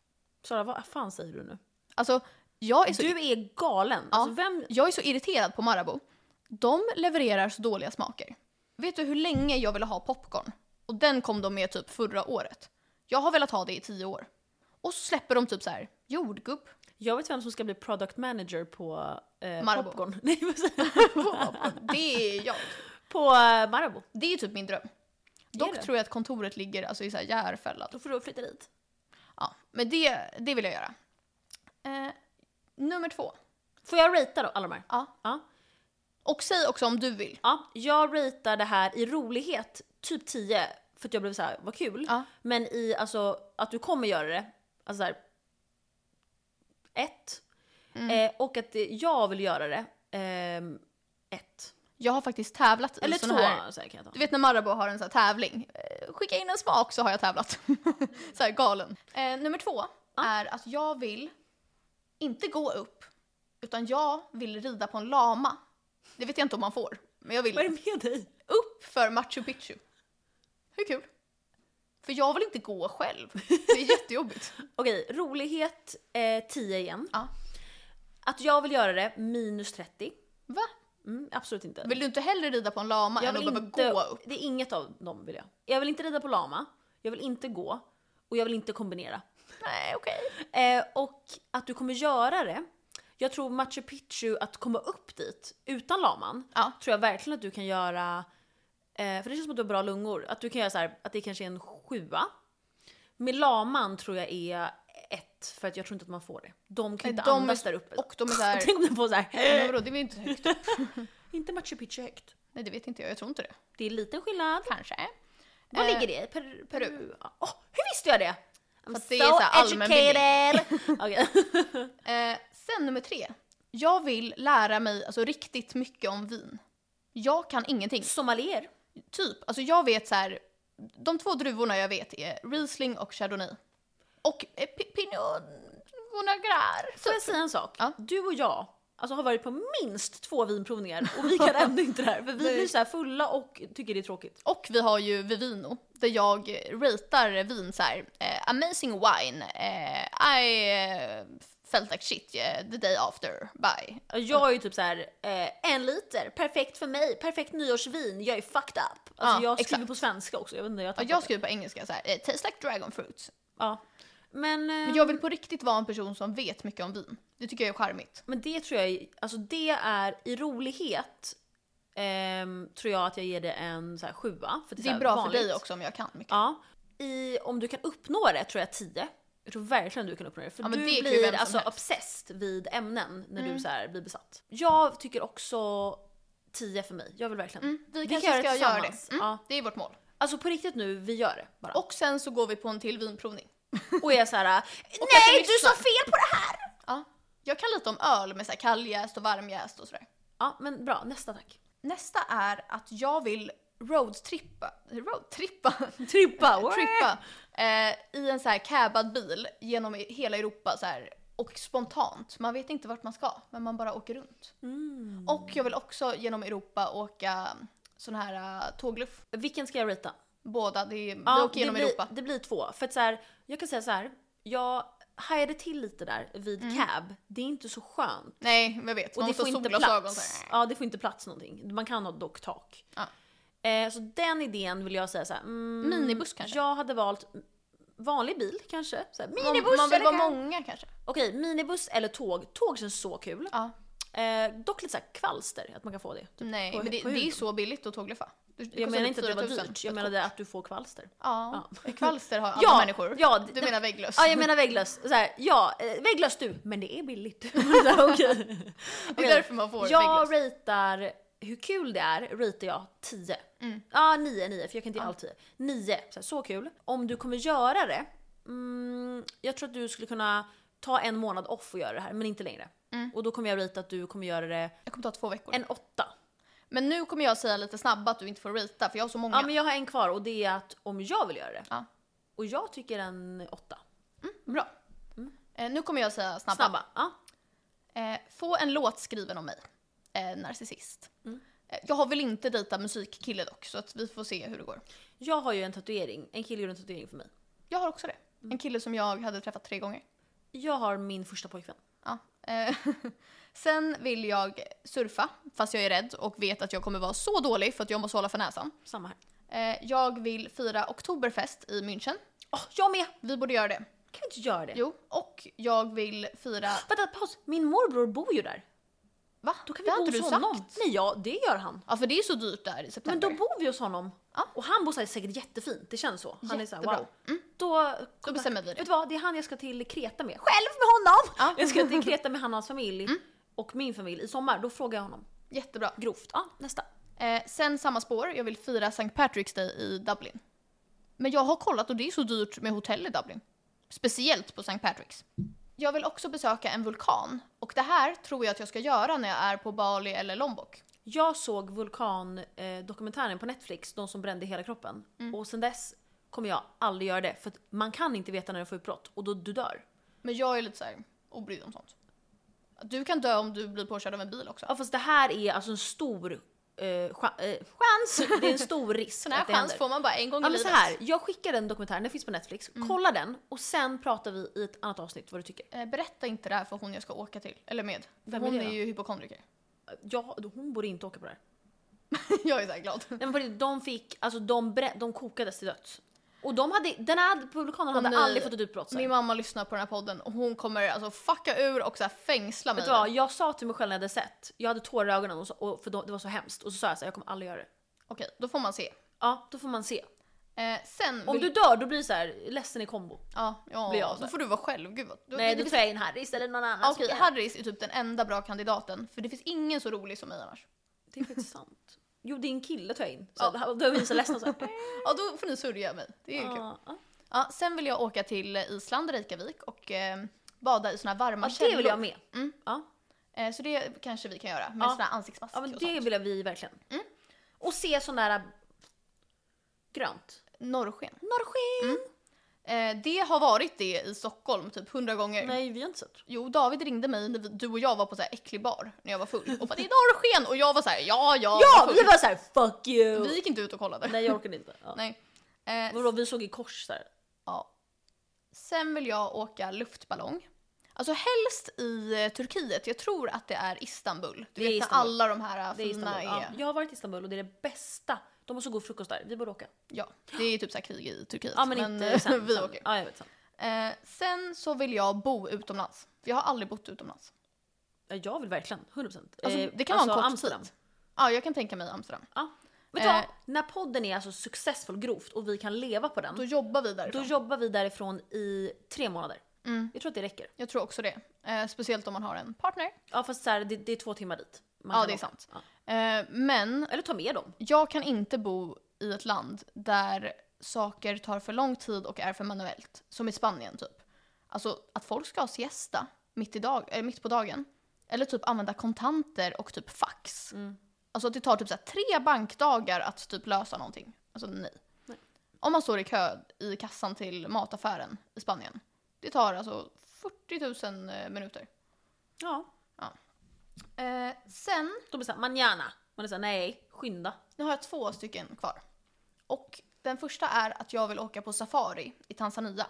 Sara, vad fan säger du nu? Alltså, jag är så, Du är galen. Alltså, vem... jag är så irriterad på Marabou. De levererar så dåliga smaker. Vet du hur länge jag ville ha popcorn? Och den kom de med typ förra året. Jag har velat ha det i tio år. Och så släpper de typ så här jordgubb. Jag vet vem som ska bli product manager på eh, Marabou. popcorn. Nej, vad säger jag? Det är jag. på eh, Marabou. Det är typ min dröm. Är det? Dock tror jag att kontoret ligger alltså, i så här Järfälla. Då får du flytta dit. Ja, men det, det vill jag göra. Eh, nummer två. Får jag ratea då, alla de här? Ja. Ja. Och säg också om du vill. ja. Jag ratear det här i rolighet, typ 10, för att jag blev så här, vad kul. Ja. Men i alltså att du kommer göra det, alltså så här, ett. Mm. Eh, och att det- jag vill göra det, ehm, ett. Jag har faktiskt tävlat Eller i två, såna här... så här kan jag ta. Du vet när Marabou har en sån här tävling. Eh, skicka in en smak så har jag tävlat. så här galen. Eh, nummer två är att jag vill inte gå upp. Utan jag vill rida på en lama. Det vet jag inte om man får. Men jag vill Vad är det med dig? upp för Machu Picchu. Hur kul? För jag vill inte gå själv. Det är jättejobbigt. Okej, rolighet eh, 10 igen. Ja. Att jag vill göra det minus 30. Va? Mm, absolut inte. Vill du inte hellre rida på en lama jag än att vill behöva inte, gå upp? Det är inget av dem vill jag. Jag vill inte rida på lama, jag vill inte gå och jag vill inte kombinera. Nej, okej. Eh, och att du kommer göra det. Jag tror Machu Picchu, att komma upp dit utan laman, Ja. tror jag verkligen att du kan göra. Eh, för det känns som att du har bra lungor. Att du kan göra så här, att det kanske är en sjua. Med laman tror jag är ett, för att jag tror inte att man får det. De kan Nej, inte de är- andas där uppe. Och de är såhär, Tänk om den får så men här. vadå, det är väl inte så högt? Inte Machu Picchu högt. Nej, det vet inte jag. Jag tror inte det. Det är liten skillnad. Kanske. Var Eh, ligger det? Per, Peru? Åh, hur visste jag det? I'm För att det är så här allmänbildning. Okej. Eh, sen nummer tre. Jag vill lära mig alltså, riktigt mycket om vin. Jag kan ingenting. Sommelier. Typ, alltså jag vet så här. De två druvorna jag vet är Riesling och Chardonnay. Och eh, Pi- Pinot Noir. Typ. Får jag säga en sak? Ja. Du och jag alltså, har varit på minst två vinprovningar och vi kan ändå inte det här. För vi Nej. blir så här fulla och tycker det är tråkigt. Och vi har ju Vivino, där jag ratear vin så här. Eh, amazing wine, eh, I eh, felt like shit eh, the day after, bye. Jag är ju typ så här, eh, en liter, perfekt för mig, perfekt nyårsvin, jag är fucked up. Alltså, Ja, jag skriver exakt. på svenska också, jag vet inte, jag har Ja, tappat jag det. skriver på engelska så här, eh, taste like dragon fruit. ja. Men, eh, Men men, jag vill på riktigt vara en person som vet mycket om vin. Det tycker jag är charmigt. men det tror jag, är- alltså det är i rolighet ehm, tror jag att jag ger det en så här, sjua. För det, är, Det så är här bra vanligt. för dig också om jag kan mycket. Ja. I, om du kan uppnå det tror jag 10. Jag tror verkligen du kan uppnå det. För Ja, men du det kan ju blir vem som alltså helst. Mm. obsessed vid ämnen när du så här blir besatt. Jag tycker också 10 för mig. Jag vill verkligen. Mm, vi Vi kanske kan göra ska det göra det. tillsammans. Mm, Ja. Det är vårt mål. Alltså på riktigt nu, vi gör det bara. Och, Och sen så går vi på en till vinprovning. och är så här. kanske Nej du lyssnar." sa fel på det här! Ja. Jag kan lite om öl med så här kalljäst och varmjäst och sådär. Ja men bra, nästa tack. Nästa är att jag vill roadtrippa, roadtrippa, Trippa! trippa eh, i en så här cabad bil genom i- hela Europa så här, och spontant. Man vet inte vart man ska men man bara åker runt. Mm. Och jag vill också genom Europa åka sån här eh, tågluff. Vilken ska jag rita? Båda, det är, vi Ja, åker genom det, blir, Europa. det blir två. För att så här, jag kan säga så här. jag hajade till lite där vid Mm. cab. Det är inte så skönt. Nej, men jag vet. Och man det måste får ha inte solglasögon plats. så här. Ja, det får inte plats någonting. Man kan ha dock tak. Ja. Eh, så den idén vill jag säga så här. Mm, Minibuss kanske? Jag hade valt vanlig bil kanske. Så här, minibuss Man, man vill eller vara kan- många kanske. Okej, minibuss eller tåg. Tåg känns så kul. Ja. Eh, dock lite så här kvalster, att man kan få det. Typ. Nej, på- men det, på det är huden. så billigt att tågluffa. Du- det Jag kostar menar typ inte att det var 4 000 dyrt, för jag ett menade att du får kvalster. Ja, kvalster har alla Ja, människor. ja, du det- menar vägglöss. Ja, jag menar vägglöss. Så här, ja, eh, vägglöss du, men det är billigt. Så här, okej. det är därför man får Jag vägglöss. ratear hur kul det är, ratear jag 10. Mm. Ja, 9, 9 för jag kan inte ge allt 10. 9, så, här, så kul. Om du kommer göra det, mm, jag tror att du skulle kunna ta en månad off och göra det här, men inte längre. Mm. Och då kommer jag ratea att du kommer göra det Jag kommer ta två veckor. en 8. Mm, Men nu kommer jag säga lite snabbt att du inte får ratea för jag har så många. Ja, men jag har en kvar och det är att om jag vill göra det. Ja. Och jag tycker en 8. Bra. Eh, nu kommer jag säga snabba. Mm. Snabba. Ja. Eh, få en låt skriven om mig. Eh, narcissist. Mm. Eh, jag har väl inte dejtat musikkille dock så att vi får se hur det går. Jag har ju en tatuering, en kille gjorde en tatuering för mig. Jag har också det. Mm. En kille som jag hade träffat tre gånger. Jag har min första pojkvän. Ja. Eh, Sen vill jag surfa, fast jag är rädd och vet att jag kommer vara så dålig för att jag måste hålla för näsan. Samma här. Eh, Jag vill fira oktoberfest i München. Åh, jag med! Vi borde göra det. Kan vi inte göra det? Jo. Och jag vill fira... Vänta, paus. Min morbror bor ju där. Va? Då kan Det vi bo hade hos du honom. sagt. Nej, ja, det gör han. Ja, för det är så dyrt där i september. Men då bor vi hos honom. Ja. Och han bor så här, säkert jättefint, det känns så. Han är så Jättebra. här, wow. Då, Då bestämmer vi Vet det. du vad, det är han jag ska till Kreta med. Själv med honom! Ja. Jag ska till Kreta med han och hans familj. Mm. Och min familj i sommar, då frågar jag honom. Jättebra. Grovt. Ja, nästa. Eh, sen samma spår, jag vill fira St. Patrick's Day i Dublin. Men jag har kollat och det är så dyrt med hotell i Dublin. Speciellt på St. Patrick's. Jag vill också besöka en vulkan och det här tror jag att jag ska göra när jag är på Bali eller Lombok. Jag såg vulkandokumentären på Netflix, de som brände hela kroppen. Mm. Och sen dess kommer jag aldrig göra det. För att man kan inte veta när du får utbrott och då du dör. Men jag är lite så här obrydd om sånt. Du kan dö om du blir påkörd av en bil också. Ja fast det här är alltså en stor eh, cha- eh, chans, det är en stor risk Sån här att det chans händer. får man bara en gång Ja, i men så livet. Mm. här, jag skickar den dokumentären, den finns på Netflix. Kolla den och sen pratar vi i ett annat avsnitt vad du tycker. Eh, Berätta inte det här för hon jag ska åka till, eller med. För Vem är hon det är, då? ju hypokondriker. Ja, hon borde inte åka på det här. jag är så här glad. Nej, men på riktigt, de fick, alltså de, bre- de kokades till döds. Och de hade, den här publikanen hade nej. aldrig fått ett utbrott. så här. Min mamma lyssnar på den här podden och hon kommer alltså fucka ur och så här fängsla mig. Vet du vad, jag sa till mig själv när jag hade sett, jag hade tårar i ögonen och så, och för då, det var så hemskt. Och så sa jag så här, jag kommer aldrig göra det. Okej, då får man se. Ja, då får man se. Eh, sen Om vill... du dör då blir det så här, ledsen i kombo. Ja, ja blir jag så då här. får du vara själv. Gud vad... då- Nej, det då finns- tar jag in Harry istället för någon annan. Okej, som- Harris är typ den enda bra kandidaten för det finns ingen så rolig som mig annars. Det är faktiskt sant. Jo, din kille tar jag in. Så, ja. Då är vi så ledsna så här. Ja, då får ni sörja mig. Det är ju kul. Ja, ja. Ja, sen vill jag åka till Island, Reykjavik och eh, bada i såna här varma Ja, det vill jag med. Mm. Ja. Eh, så det kanske vi kan göra med Ja. såna här ansiktsmask ja, men och det sånt. Mm. vill jag vi verkligen. Och se sån där äh, grönt. Norrsken. Norrsken! Eh, det har varit det i Stockholm typ hundra gånger. Nej, vi har inte sett. Jo, David ringde mig när vi- du och jag var på så här äcklig bar när jag var full och bara det är norrsken och jag var så här ja ja. jag Ja, var vi full. var såhär fuck you! vi gick inte ut och kollade. Nej, jag orkade inte. Ja. Nej. Eh, Vadå, vi såg i kors såhär. Ja. Sen vill jag åka luftballong. Alltså helst i eh, Turkiet. Jag tror att det är Istanbul. Du Det är vet när Istanbul. alla de här eh, Det är fina Istanbul. Ja. är. Jag har varit i Istanbul och det är det bästa. De har så god frukost där. Vi borde åka. Ja, det är ju typ så här krig i Turkiet. Ja men, eh, inte sen. liksom. vi sen. åker. Ja, jag vet sen. Eh, sen så vill jag bo utomlands. För jag har aldrig bott utomlands. Ja, Jag vill verkligen, 100%. Alltså, Eh, det kan vara en kort Amsterdam. tid. Ja, jag kan tänka mig Amsterdam. Ja. Vet du vad? Eh. När podden är alltså successful grovt och vi kan leva på den, Då Mm. då, jobbar vi därifrån. jobbar vi därifrån i tre månader. Mm. Jag tror att det räcker. Jag tror också det. Eh, speciellt om man har en partner. Ja fast så här, det, det är två timmar dit. man Ja, kan det är åka. sant. Ja. Eh, men Eller ta med dem. jag kan inte bo i ett land där saker tar för lång tid och är för manuellt. Som i Spanien typ. Alltså att folk ska ha siesta mitt, i dag, eh, mitt på dagen. Eller typ använda kontanter och typ fax. Alltså att det tar typ så här tre bankdagar att typ lösa någonting. Alltså nej. Nej. Om man står i kö i kassan till mataffären i Spanien. Det tar alltså 40 000 eh, minuter. Ja. Eh, sen De blir såhär manana. Man är såhär nej, skynda. Nu har jag två stycken kvar. Och den första är att jag vill åka på safari i Tanzania.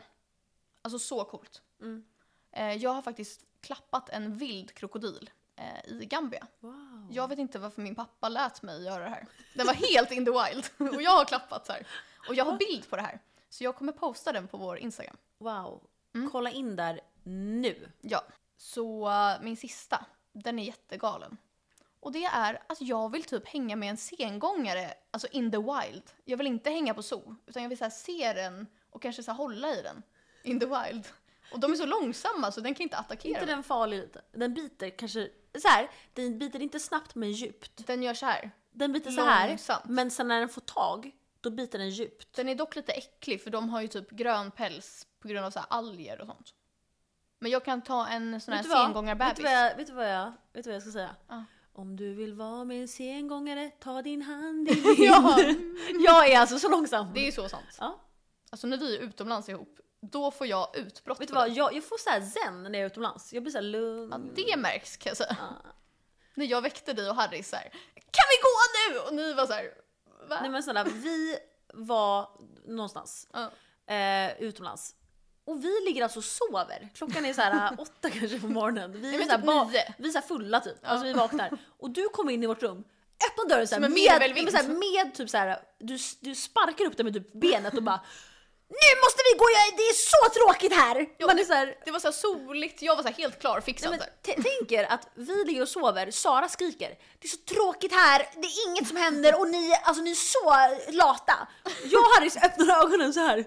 Alltså så coolt. Mm. Eh, jag har faktiskt klappat en vild krokodil eh, i Gambia. Wow. Jag vet inte varför min pappa lät mig göra det här. Den var helt in the wild. Och jag har klappat så här. Och jag har bild på det här. Så jag kommer posta den på vår Instagram. Wow. Mm. Kolla in där nu. Ja. Så eh, min sista, den är jättegalen. Och det är att jag vill typ hänga med en sengångare, alltså in the wild. Jag vill inte hänga på zoo, utan jag vill så här se den och kanske så här hålla i den. In the wild. Och de är så långsamma så den kan inte attackera inte mig. den farlig lite. Den biter kanske så här. den biter inte snabbt men djupt. Den gör så här. Den biter så här, Långsamt. men sen när den får tag, då biter den djupt. Den är dock lite äcklig för de har ju typ grön päls på grund av så här alger och sånt. Men jag kan ta en sån här Vet du vad? Vet sengångarbebis. du vad jag, vet du vad jag, vet du vad jag ska säga? Ja. Om du vill vara min sengångare, ta din hand i min. Ja. Jag är alltså så långsam. Det är ju så sant. Ja. Alltså när vi är utomlands ihop, då får jag utbrott Vet du för det. vad, jag, jag får så här zen när jag är utomlands. Jag blir så här lugn. Ja, det märks kan jag säga. Ja. När jag väckte dig och Harry så här, kan vi gå nu? Och ni var så här, va? Nej men snälla, vi var någonstans Ja. eh, utomlands. Och vi ligger alltså och sover. Klockan är så här eh, åtta kanske på morgonen. Vi är, men så här typ ba- nio. vi är så här fulla typ. Alltså vi vaknar. Och du kommer in i vårt rum, öppnar dörren så här, Som en med, virvelvind. med, så här, med typ så här, du, du sparkar upp den med typ benet och bara Nu måste vi gå, jag- det är så tråkigt här! Man är så här, Det var så här soligt, jag var så här helt klar, fixad. Nej, men så här. t- tänk er att vi ligger och sover, Sara skriker “Det är så tråkigt här, det är inget som händer och ni, alltså, ni är så lata”. Jag och Harris öppnar ögonen så här.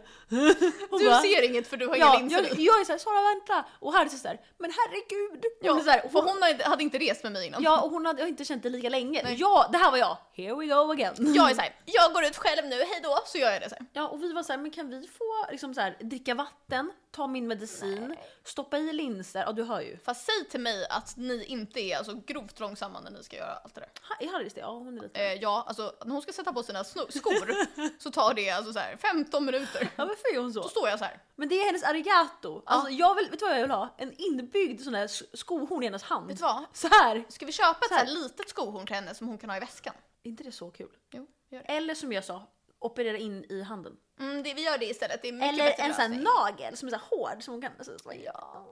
Och Du bara- ser inget för du har ja, ingen linser. jag, jag är såhär “Sara vänta” och Harris är såhär “Men herregud”. Ja, Hon är så här, och för hon, hon hade- hade inte rest med mig innan. ja, och hon hade, jag har inte känt det lika länge. Ja, det här var jag. Here we go again. Jag är så här, jag går ut själv nu, hej då. Så gör jag det så här. Ja, och vi var så här, men kan vi få liksom så här, dricka vatten, ta min medicin, stoppa i linser? Ja, du hör ju. Fast säg till mig att ni inte är alltså, grovt långsamma när ni ska göra allt det där. Ha- Är Harris det? Ja, hon är lite... Eh, ja, alltså när hon ska sätta på sina sno- skor så tar det alltså så här 15 minuter. Ja, varför är hon så? Då står jag så här. Men det är hennes arigato. Alltså, jag vill, vet du vad jag vill ha? En inbyggd sån där s- skohorn i hennes hand. Vet du vad? Så här. Ska vi köpa ett så här litet skohorn till henne som hon kan ha i väskan? Är inte det så kul? Jo, vi gör det. Eller som jag sa, operera in i handen. Mm, det. Vi gör det istället. Det är mycket Eller bättre en sån här lösning. nagel som är så här hård som hon kan... alltså, Så, så, ja.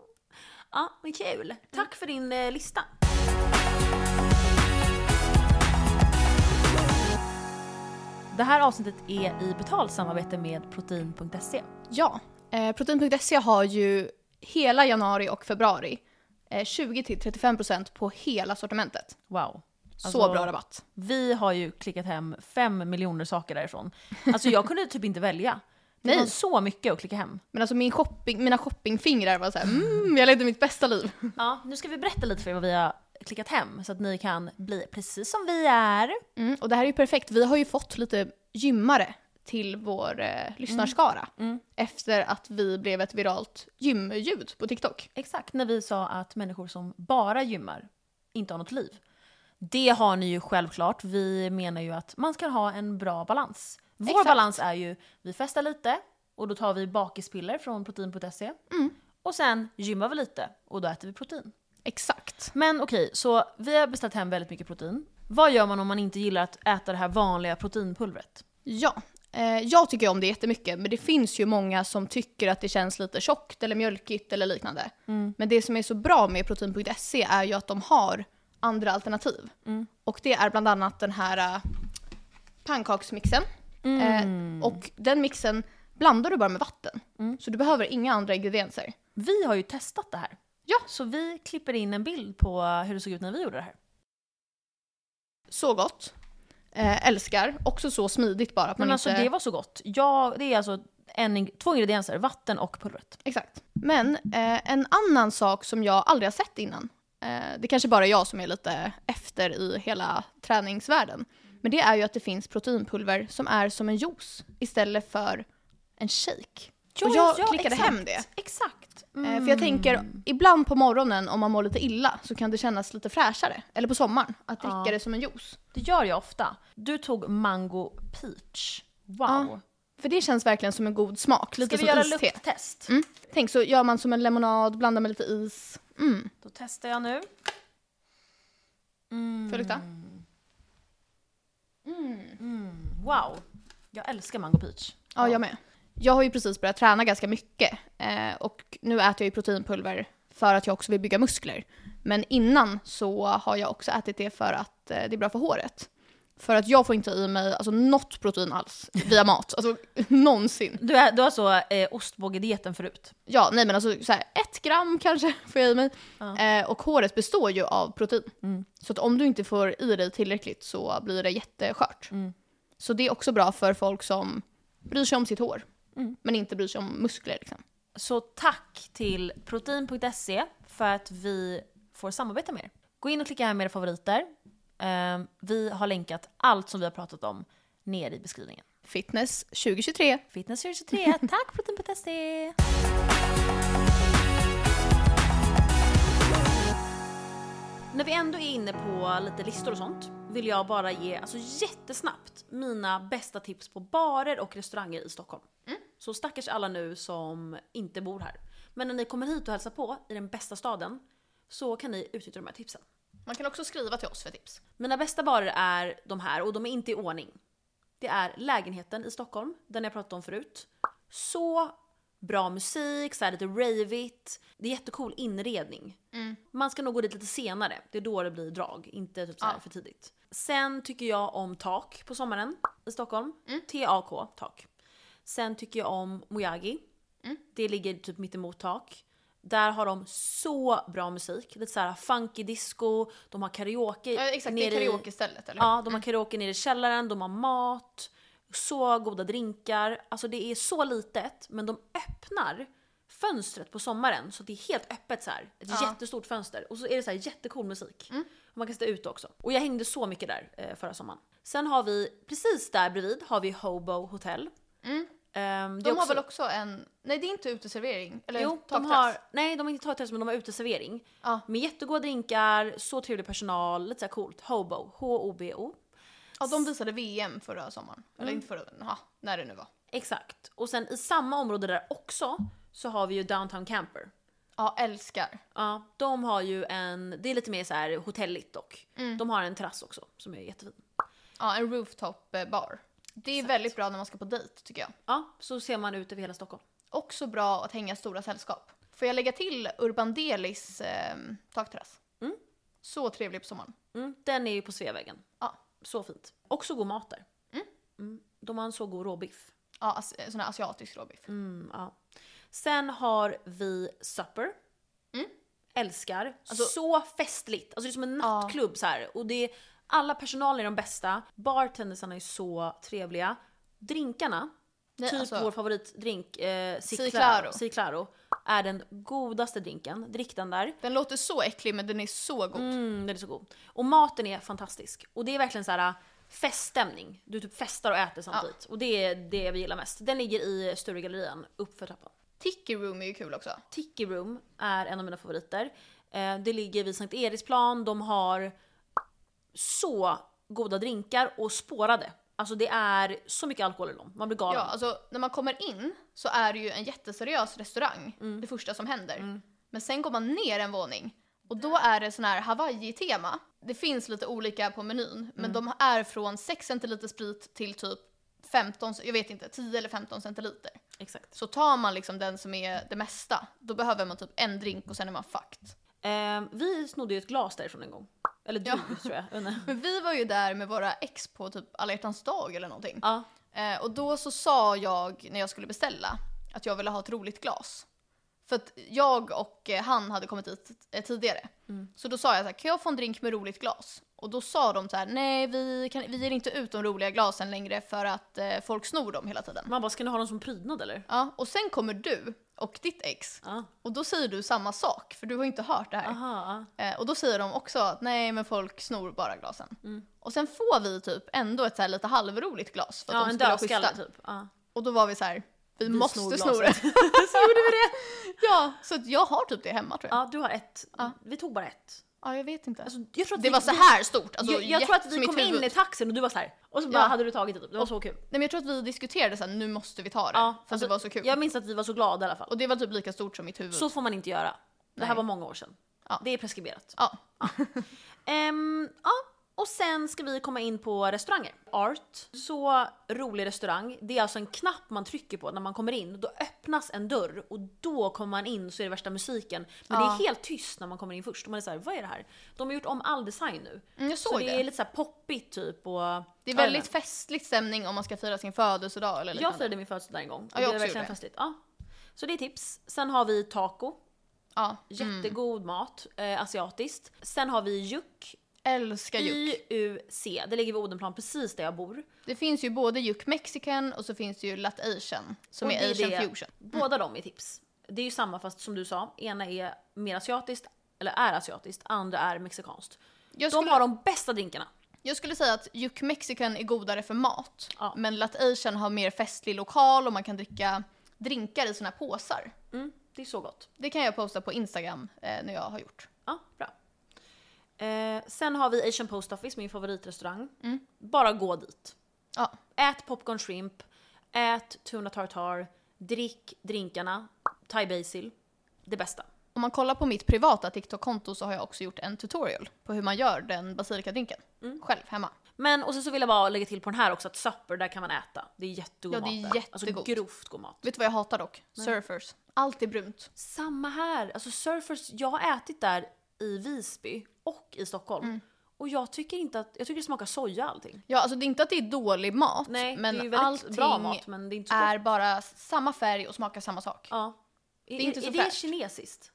ja, men kul. Tack för din eh, lista. Det här avsnittet är i betalt samarbete med protein.se. Ja, eh, protein.se har ju hela januari och februari eh, 20-35% på hela sortimentet. Wow. Så Alltså- bra rabatt. Vi har ju klickat hem fem miljoner saker därifrån. Alltså jag kunde typ inte välja. Det Nej. var så mycket att klicka hem. Men alltså min shopping, mina shoppingfingrar var såhär mm, jag levde mitt bästa liv. Ja, nu ska vi berätta lite för er vad vi har klickat hem så att ni kan bli precis som vi är. Mm, och det här är ju perfekt, vi har ju fått lite gymmare till vår eh, lyssnarskara. Efter att vi blev ett viralt gymljud på TikTok. Exakt, när vi sa att människor som bara gymmar inte har något liv. Det har ni ju självklart. Vi menar ju att man ska ha en bra balans. Vår Exakt. balans är ju, vi festar lite och då tar vi bakispiller från protein.se. Mm. Och sen gymmar vi lite och då äter vi protein. Exakt. Men okej, så vi har beställt hem väldigt mycket protein. Vad gör man om man inte gillar att äta det här vanliga proteinpulvret? Ja, eh, jag tycker om det jättemycket men det finns ju många som tycker att det känns lite tjockt eller mjölkigt eller liknande. Mm. Men det som är så bra med protein.se är ju att de har andra alternativ. Mm. Och det är bland annat den här eh, pannkaksmixen. Mm. Eh, och den mixen blandar du bara med vatten. Så du behöver inga andra ingredienser. Vi har ju testat det här. Ja. Så vi klipper in en bild på hur det såg ut när vi gjorde det här. Så gott. Eh, älskar. Också så smidigt bara att man Men alltså inte... det var så gott. Jag, det är alltså en, ing- två ingredienser, vatten och pulvret. Exakt. Men eh, en annan sak som jag aldrig har sett innan, eh, det kanske bara är jag som är lite efter i hela träningsvärlden, men det är ju att det finns proteinpulver som är som en juice istället för en shake. och jag klickade exakt, hem det. Exakt. Eh, För jag tänker, Mm. ibland på morgonen om man mår lite illa så kan det kännas lite fräschare. Eller på sommaren, att dricka Ja. det som en juice. Det gör jag ofta. Du tog mango peach. Wow. Ja, För det känns verkligen som en god smak, lite Ska vi som göra iste. lukttest? Mm. Tänk så gör man som en lemonad, blandar med lite is. Mm. Då testar jag nu. Mm. Får jag lukta? Mm. Wow. Jag älskar mango peach. Ja, jag med. Jag har ju precis börjat träna ganska mycket eh, och nu äter jag ju proteinpulver för att jag också vill bygga muskler. Men innan så har jag också ätit det för att eh, det är bra för håret. För att jag får inte i mig alltså, något protein alls via mat. Alltså någonsin. Du, är, du har så eh, ostbågedieten förut. Ja, nej men alltså så här, ett gram kanske får jag i mig. Eh, och håret består ju av protein. Mm. Så att om du inte får i dig tillräckligt så blir det jätteskört. Mm. Så det är också bra för folk som bryr sig om sitt hår. Mm. Men inte bryr sig om muskler liksom. Så tack till protein.se för att vi får samarbeta med er. Gå in och klicka hem era favoriter. Eh, vi har länkat allt som vi har pratat om ner i beskrivningen. Fitness 2023. Fitness 23, tack protein.se! När vi ändå är inne på lite listor och sånt vill jag bara ge alltså, jättesnabbt mina bästa tips på barer och restauranger i Stockholm. Så stackars alla nu som inte bor här. Men när ni kommer hit och hälsar på i den bästa staden så kan ni utnyttja de här tipsen. Man kan också skriva till oss för tips. Mina bästa barer är de här och de är inte i ordning. Det är lägenheten i Stockholm, den jag pratade om förut. Så bra musik, så här lite raveigt. Det är jättecool inredning. Mm. Man ska nog gå dit lite senare, det är då det blir drag, inte typ så här Ja. för tidigt. Sen tycker jag om tak på sommaren i Stockholm. Mm. TAK, tak. Sen tycker jag om Mojagi. Mm. Det ligger typ mittemot tak. Där har de så bra musik. Lite såhär funky disco, de har karaoke. exakt, det är nere i- karaoke-stället eller Mm. hur? Ja, de har karaoke nere i källaren, de har mat, så goda drinkar. Alltså det är så litet, men de öppnar fönstret på sommaren så det är helt öppet så här. Ett Ja. Mm. jättestort fönster och så är det så här jättecool musik. Och Man kan sitta ute också. Och jag hängde så mycket där eh, förra sommaren. Sen har vi, precis där bredvid har vi Hobo Hotel. Ehm, det Mm. De är har också- väl också en... Nej, det är inte uteservering. Eller Jo, de takterrass. har, nej de har inte takterrass men de har uteservering. Ja. Med jättegoda drinkar, så trevlig personal, lite så här coolt. Hobo, H-O-B-O. Ja, de visade VM förra sommaren. Mm. Eller inte förra, ja, när det nu var. Exakt. Och sen i samma område där också så har vi ju Downtown Camper. Ja, älskar. Ja, de Mm. har ju en, det är lite mer så här hotelligt dock. De har en terrass också som är jättefin. Ja, en rooftop eh, bar. Det är Exakt. väldigt bra när man ska på dejt tycker jag. Ja, så ser man ut över hela Stockholm. Också bra att hänga stora sällskap. Får jag lägga till Urban Delis eh, takterrass? Mm. Så trevlig på sommaren. Mm, den är ju på Sveavägen. Ja. Så fint. Också god mat där. Mm. Mm, de har en så god råbiff. Ja, as- eh, sån här asiatisk råbiff. Mm, ja. Sen har vi Supper. Mm. Älskar. Alltså- så festligt. Alltså det är som en Ja. nattklubb så här. Och det är, alla personalen är de bästa. Bartendersarna är så trevliga. Drinkarna, Nej, typ alltså- vår favoritdrink, eh, Si Si Claro. Claro. Si Claro, är den godaste drinken. Drick den där. Den låter så äcklig men den är så god. Mm, den är så god. Och maten är fantastisk. Och det är verkligen så här äh, feststämning. Du typ festar och äter samtidigt. Och det är det vi gillar mest. Den ligger i Sturegallerian, uppför trappan. Tiki Room är ju kul också. Tiki Room är en av mina favoriter. Eh, det ligger vid Sankt Eriksplan, de har så goda drinkar och spårade. Alltså det är så mycket alkohol i dem, man blir Ja, galen. alltså när man kommer in så är det ju en jätteseriös restaurang det första som händer. Men sen går man ner en våning och då är det sån här Hawaii-tema. Det finns lite olika på menyn, men de är från 6 centiliter sprit till typ 15, jag vet inte, 10 eller 15 centiliter. Exakt. Så tar man liksom den som är det mesta, då behöver man typ en drink och sen är man fucked. Eh, vi snodde ju ett glas därifrån en gång. Eller du tror jag. jag. vet inte. Men vi var ju där med våra ex på typ alla hjärtans dag eller någonting. ja. Eh, och då så sa jag när jag skulle beställa att jag ville ha ett roligt glas. För att jag och eh, han hade kommit hit eh, tidigare. Mm. Så då sa jag så här, kan jag få en drink med roligt glas? Och då sa de så här, nej vi, kan, vi ger inte ut de roliga glasen längre för att eh, folk snor dem hela tiden. Man bara, ska ni ha dem som prydnad eller? Ja, och sen kommer du och ditt ex Ja. och då säger du samma sak för du har inte hört det här. Aha, Eh, och då säger de också att nej men folk snor bara glasen. Mm. Och sen får vi typ ändå ett så här lite halvroligt glas för att ja. ja de en skulle vara schyssta. dödskalle typ. Ja. Och då var vi så här, vi, snor måste sno det. glaset. så gjorde vi det. Ja, så att jag har typ det hemma tror jag. ja, du har ett. Vi tog bara ett. Ja, jag vet inte. Alltså, jag tror att det vi, var så här stort. Alltså, jag, jag tror att jätte- vi mitt kom in huvud. i taxin och du var så här. Och så bara Ja. hade du tagit det typ. Det var så kul. Nej, men jag tror att vi diskuterade så här, nu måste vi ta det. Ja, för att det var så kul. Jag minns att vi var så glada i alla fall. Och det var typ lika stort som mitt huvud. Så får man inte göra. Det här Nej. var många år sedan. Ja. Det är preskriberat. Ja. Ehm, ja. Och sen ska vi komma in på restauranger. Art. Så rolig restaurang. Det är alltså en knapp man trycker på när man kommer in. Då öppnas en dörr och då kommer man in så är det värsta musiken. Men Ja. det är helt tyst när man kommer in först. Och man är såhär, vad är det här? De har gjort om all design nu. Mm, jag så såg det, det. är lite såhär poppigt typ och... Det är väldigt festlig stämning om man ska fira sin födelsedag eller Jag liknande. firade min födelsedag en gång. liksom. Ja, jag det är också gjorde verkligen det. festligt. Ja. Så det är tips. Sen har vi taco. Ja. Jättegod mat, eh, asiatiskt. Sen har vi Juk. Älskar juck. YUC. Det ligger vid Odenplan precis där jag bor. Det finns ju både juck mexican och så finns det ju lat asian som Och är det är asian det- fusion. Mm. Båda de är tips. Det är ju samma fast som du sa, ena är mer asiatiskt, eller är asiatiskt, andra är mexikanskt. De Jag skulle, har de bästa drinkarna. jag skulle säga att juck mexican är godare för mat. Ja. Men lat asian har mer festlig lokal och man kan dricka drinkar i såna här påsar. Mm, det är så gott. Det kan jag posta på Instagram eh, när jag har gjort. Ja, bra. Eh, sen har vi Asian Post Office, min favoritrestaurang. Mm. Bara gå dit. Ja. Ät popcorn shrimp, ät tuna tartar, drick drinkarna, thai basil. Det bästa. Om man kollar på mitt privata TikTok-konto så har jag också gjort en tutorial på hur man gör den basilikadrinken Mm. själv hemma. Men och sen så vill jag bara lägga till på den här också att supper, där kan man äta. Det är jättegod Ja, mat det är där. jättegott. Alltså grovt god mat. Vet du vad jag hatar dock? Surfers. Allt är brunt. Samma här. Alltså surfers, jag har ätit där i Visby och i Stockholm. Mm. Och jag tycker inte att, jag tycker det smakar soja allting. Ja, alltså det är inte att det är dålig mat, Nej, men det är ju allting väldigt bra mat men det är inte så är gott. bara samma färg och smakar samma sak. Ja. Ja. Det är, inte är, så är det fräscht. kinesiskt?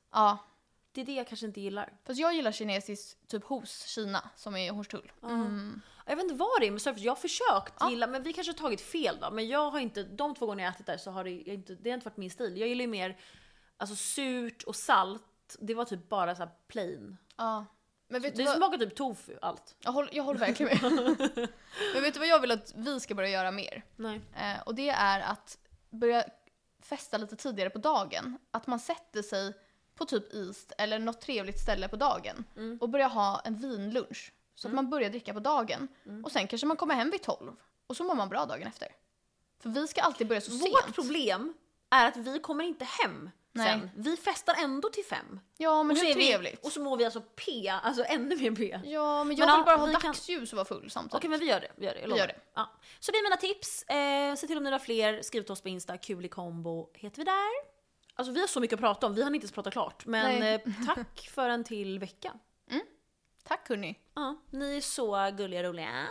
Det är det jag kanske inte gillar. Fast jag gillar kinesiskt typ hos Kina, som är Hornstull. Jag vet inte vad det är med surfers, jag har försökt gilla, men vi kanske har tagit fel då. Men jag har inte, de två gånger jag har ätit där så har det, jag inte, det har inte varit min stil. Jag gillar ju mer alltså, surt och salt, det var typ bara så här plain. Ja. Men vet du Det vad? smakar typ tofu, allt. Jag, håller, jag håller verkligen med. men vet du vad jag vill att vi ska börja göra mer? Nej. Eh, och det är att börja festa lite tidigare på dagen. Att man sätter sig på typ East eller något trevligt ställe på dagen Mm. och börjar ha en vinlunch. Så att man börjar dricka på dagen Mm. och sen kanske man kommer hem vid 12 och så mår man bra dagen efter. För vi ska alltid börja så Vårt sent. problem är att vi kommer inte hem Nej. sen. Vi festar ändå till fem. Ja, men Och så hur är vi- trevligt. Och så mår vi alltså P, alltså ännu mer P. Ja, men jag Men, vill ja, bara ha vi kan- dagsljus och vara full samtidigt. Okej men vi gör det, vi gör det. Jag lovar. gör det. Ja. Så det är mina tips. Eh, se till om ni har fler, skriv till oss på Insta, kul i kombo heter vi där. Alltså vi har så mycket att prata om, vi har inte ens pratat klart. Men Nej. eh, tack för en till vecka. Tack hörni. Ja, ni är så gulliga och roliga.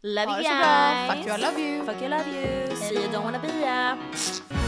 Love Mm. Ha you guys! det så bra. Fuck you, I love you. Fuck you, I love you! See you, don't wanna be a...